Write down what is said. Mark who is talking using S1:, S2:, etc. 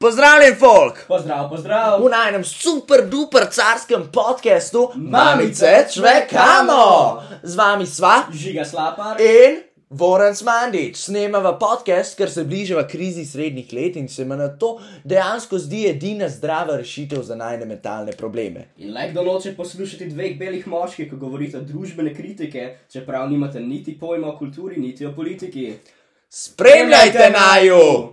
S1: Pozdravljen, folk!
S2: Pozdrav, pozdrav!
S1: V najnem super duper carskem podkastu Mamice čvekamo! Z vami sva
S2: Žiga Slapar.
S1: in Voran Smandič. Snemava podcast, ker se bližava krizi srednjih let in se mi na to dejansko zdi edina zdrava rešitev za najne mentalne probleme.
S2: In le kdo noče poslušati dveh belih moških, ko govorite družbene kritike, čeprav nimate niti pojma o kulturi, niti o politiki.
S1: Spremljajte naju!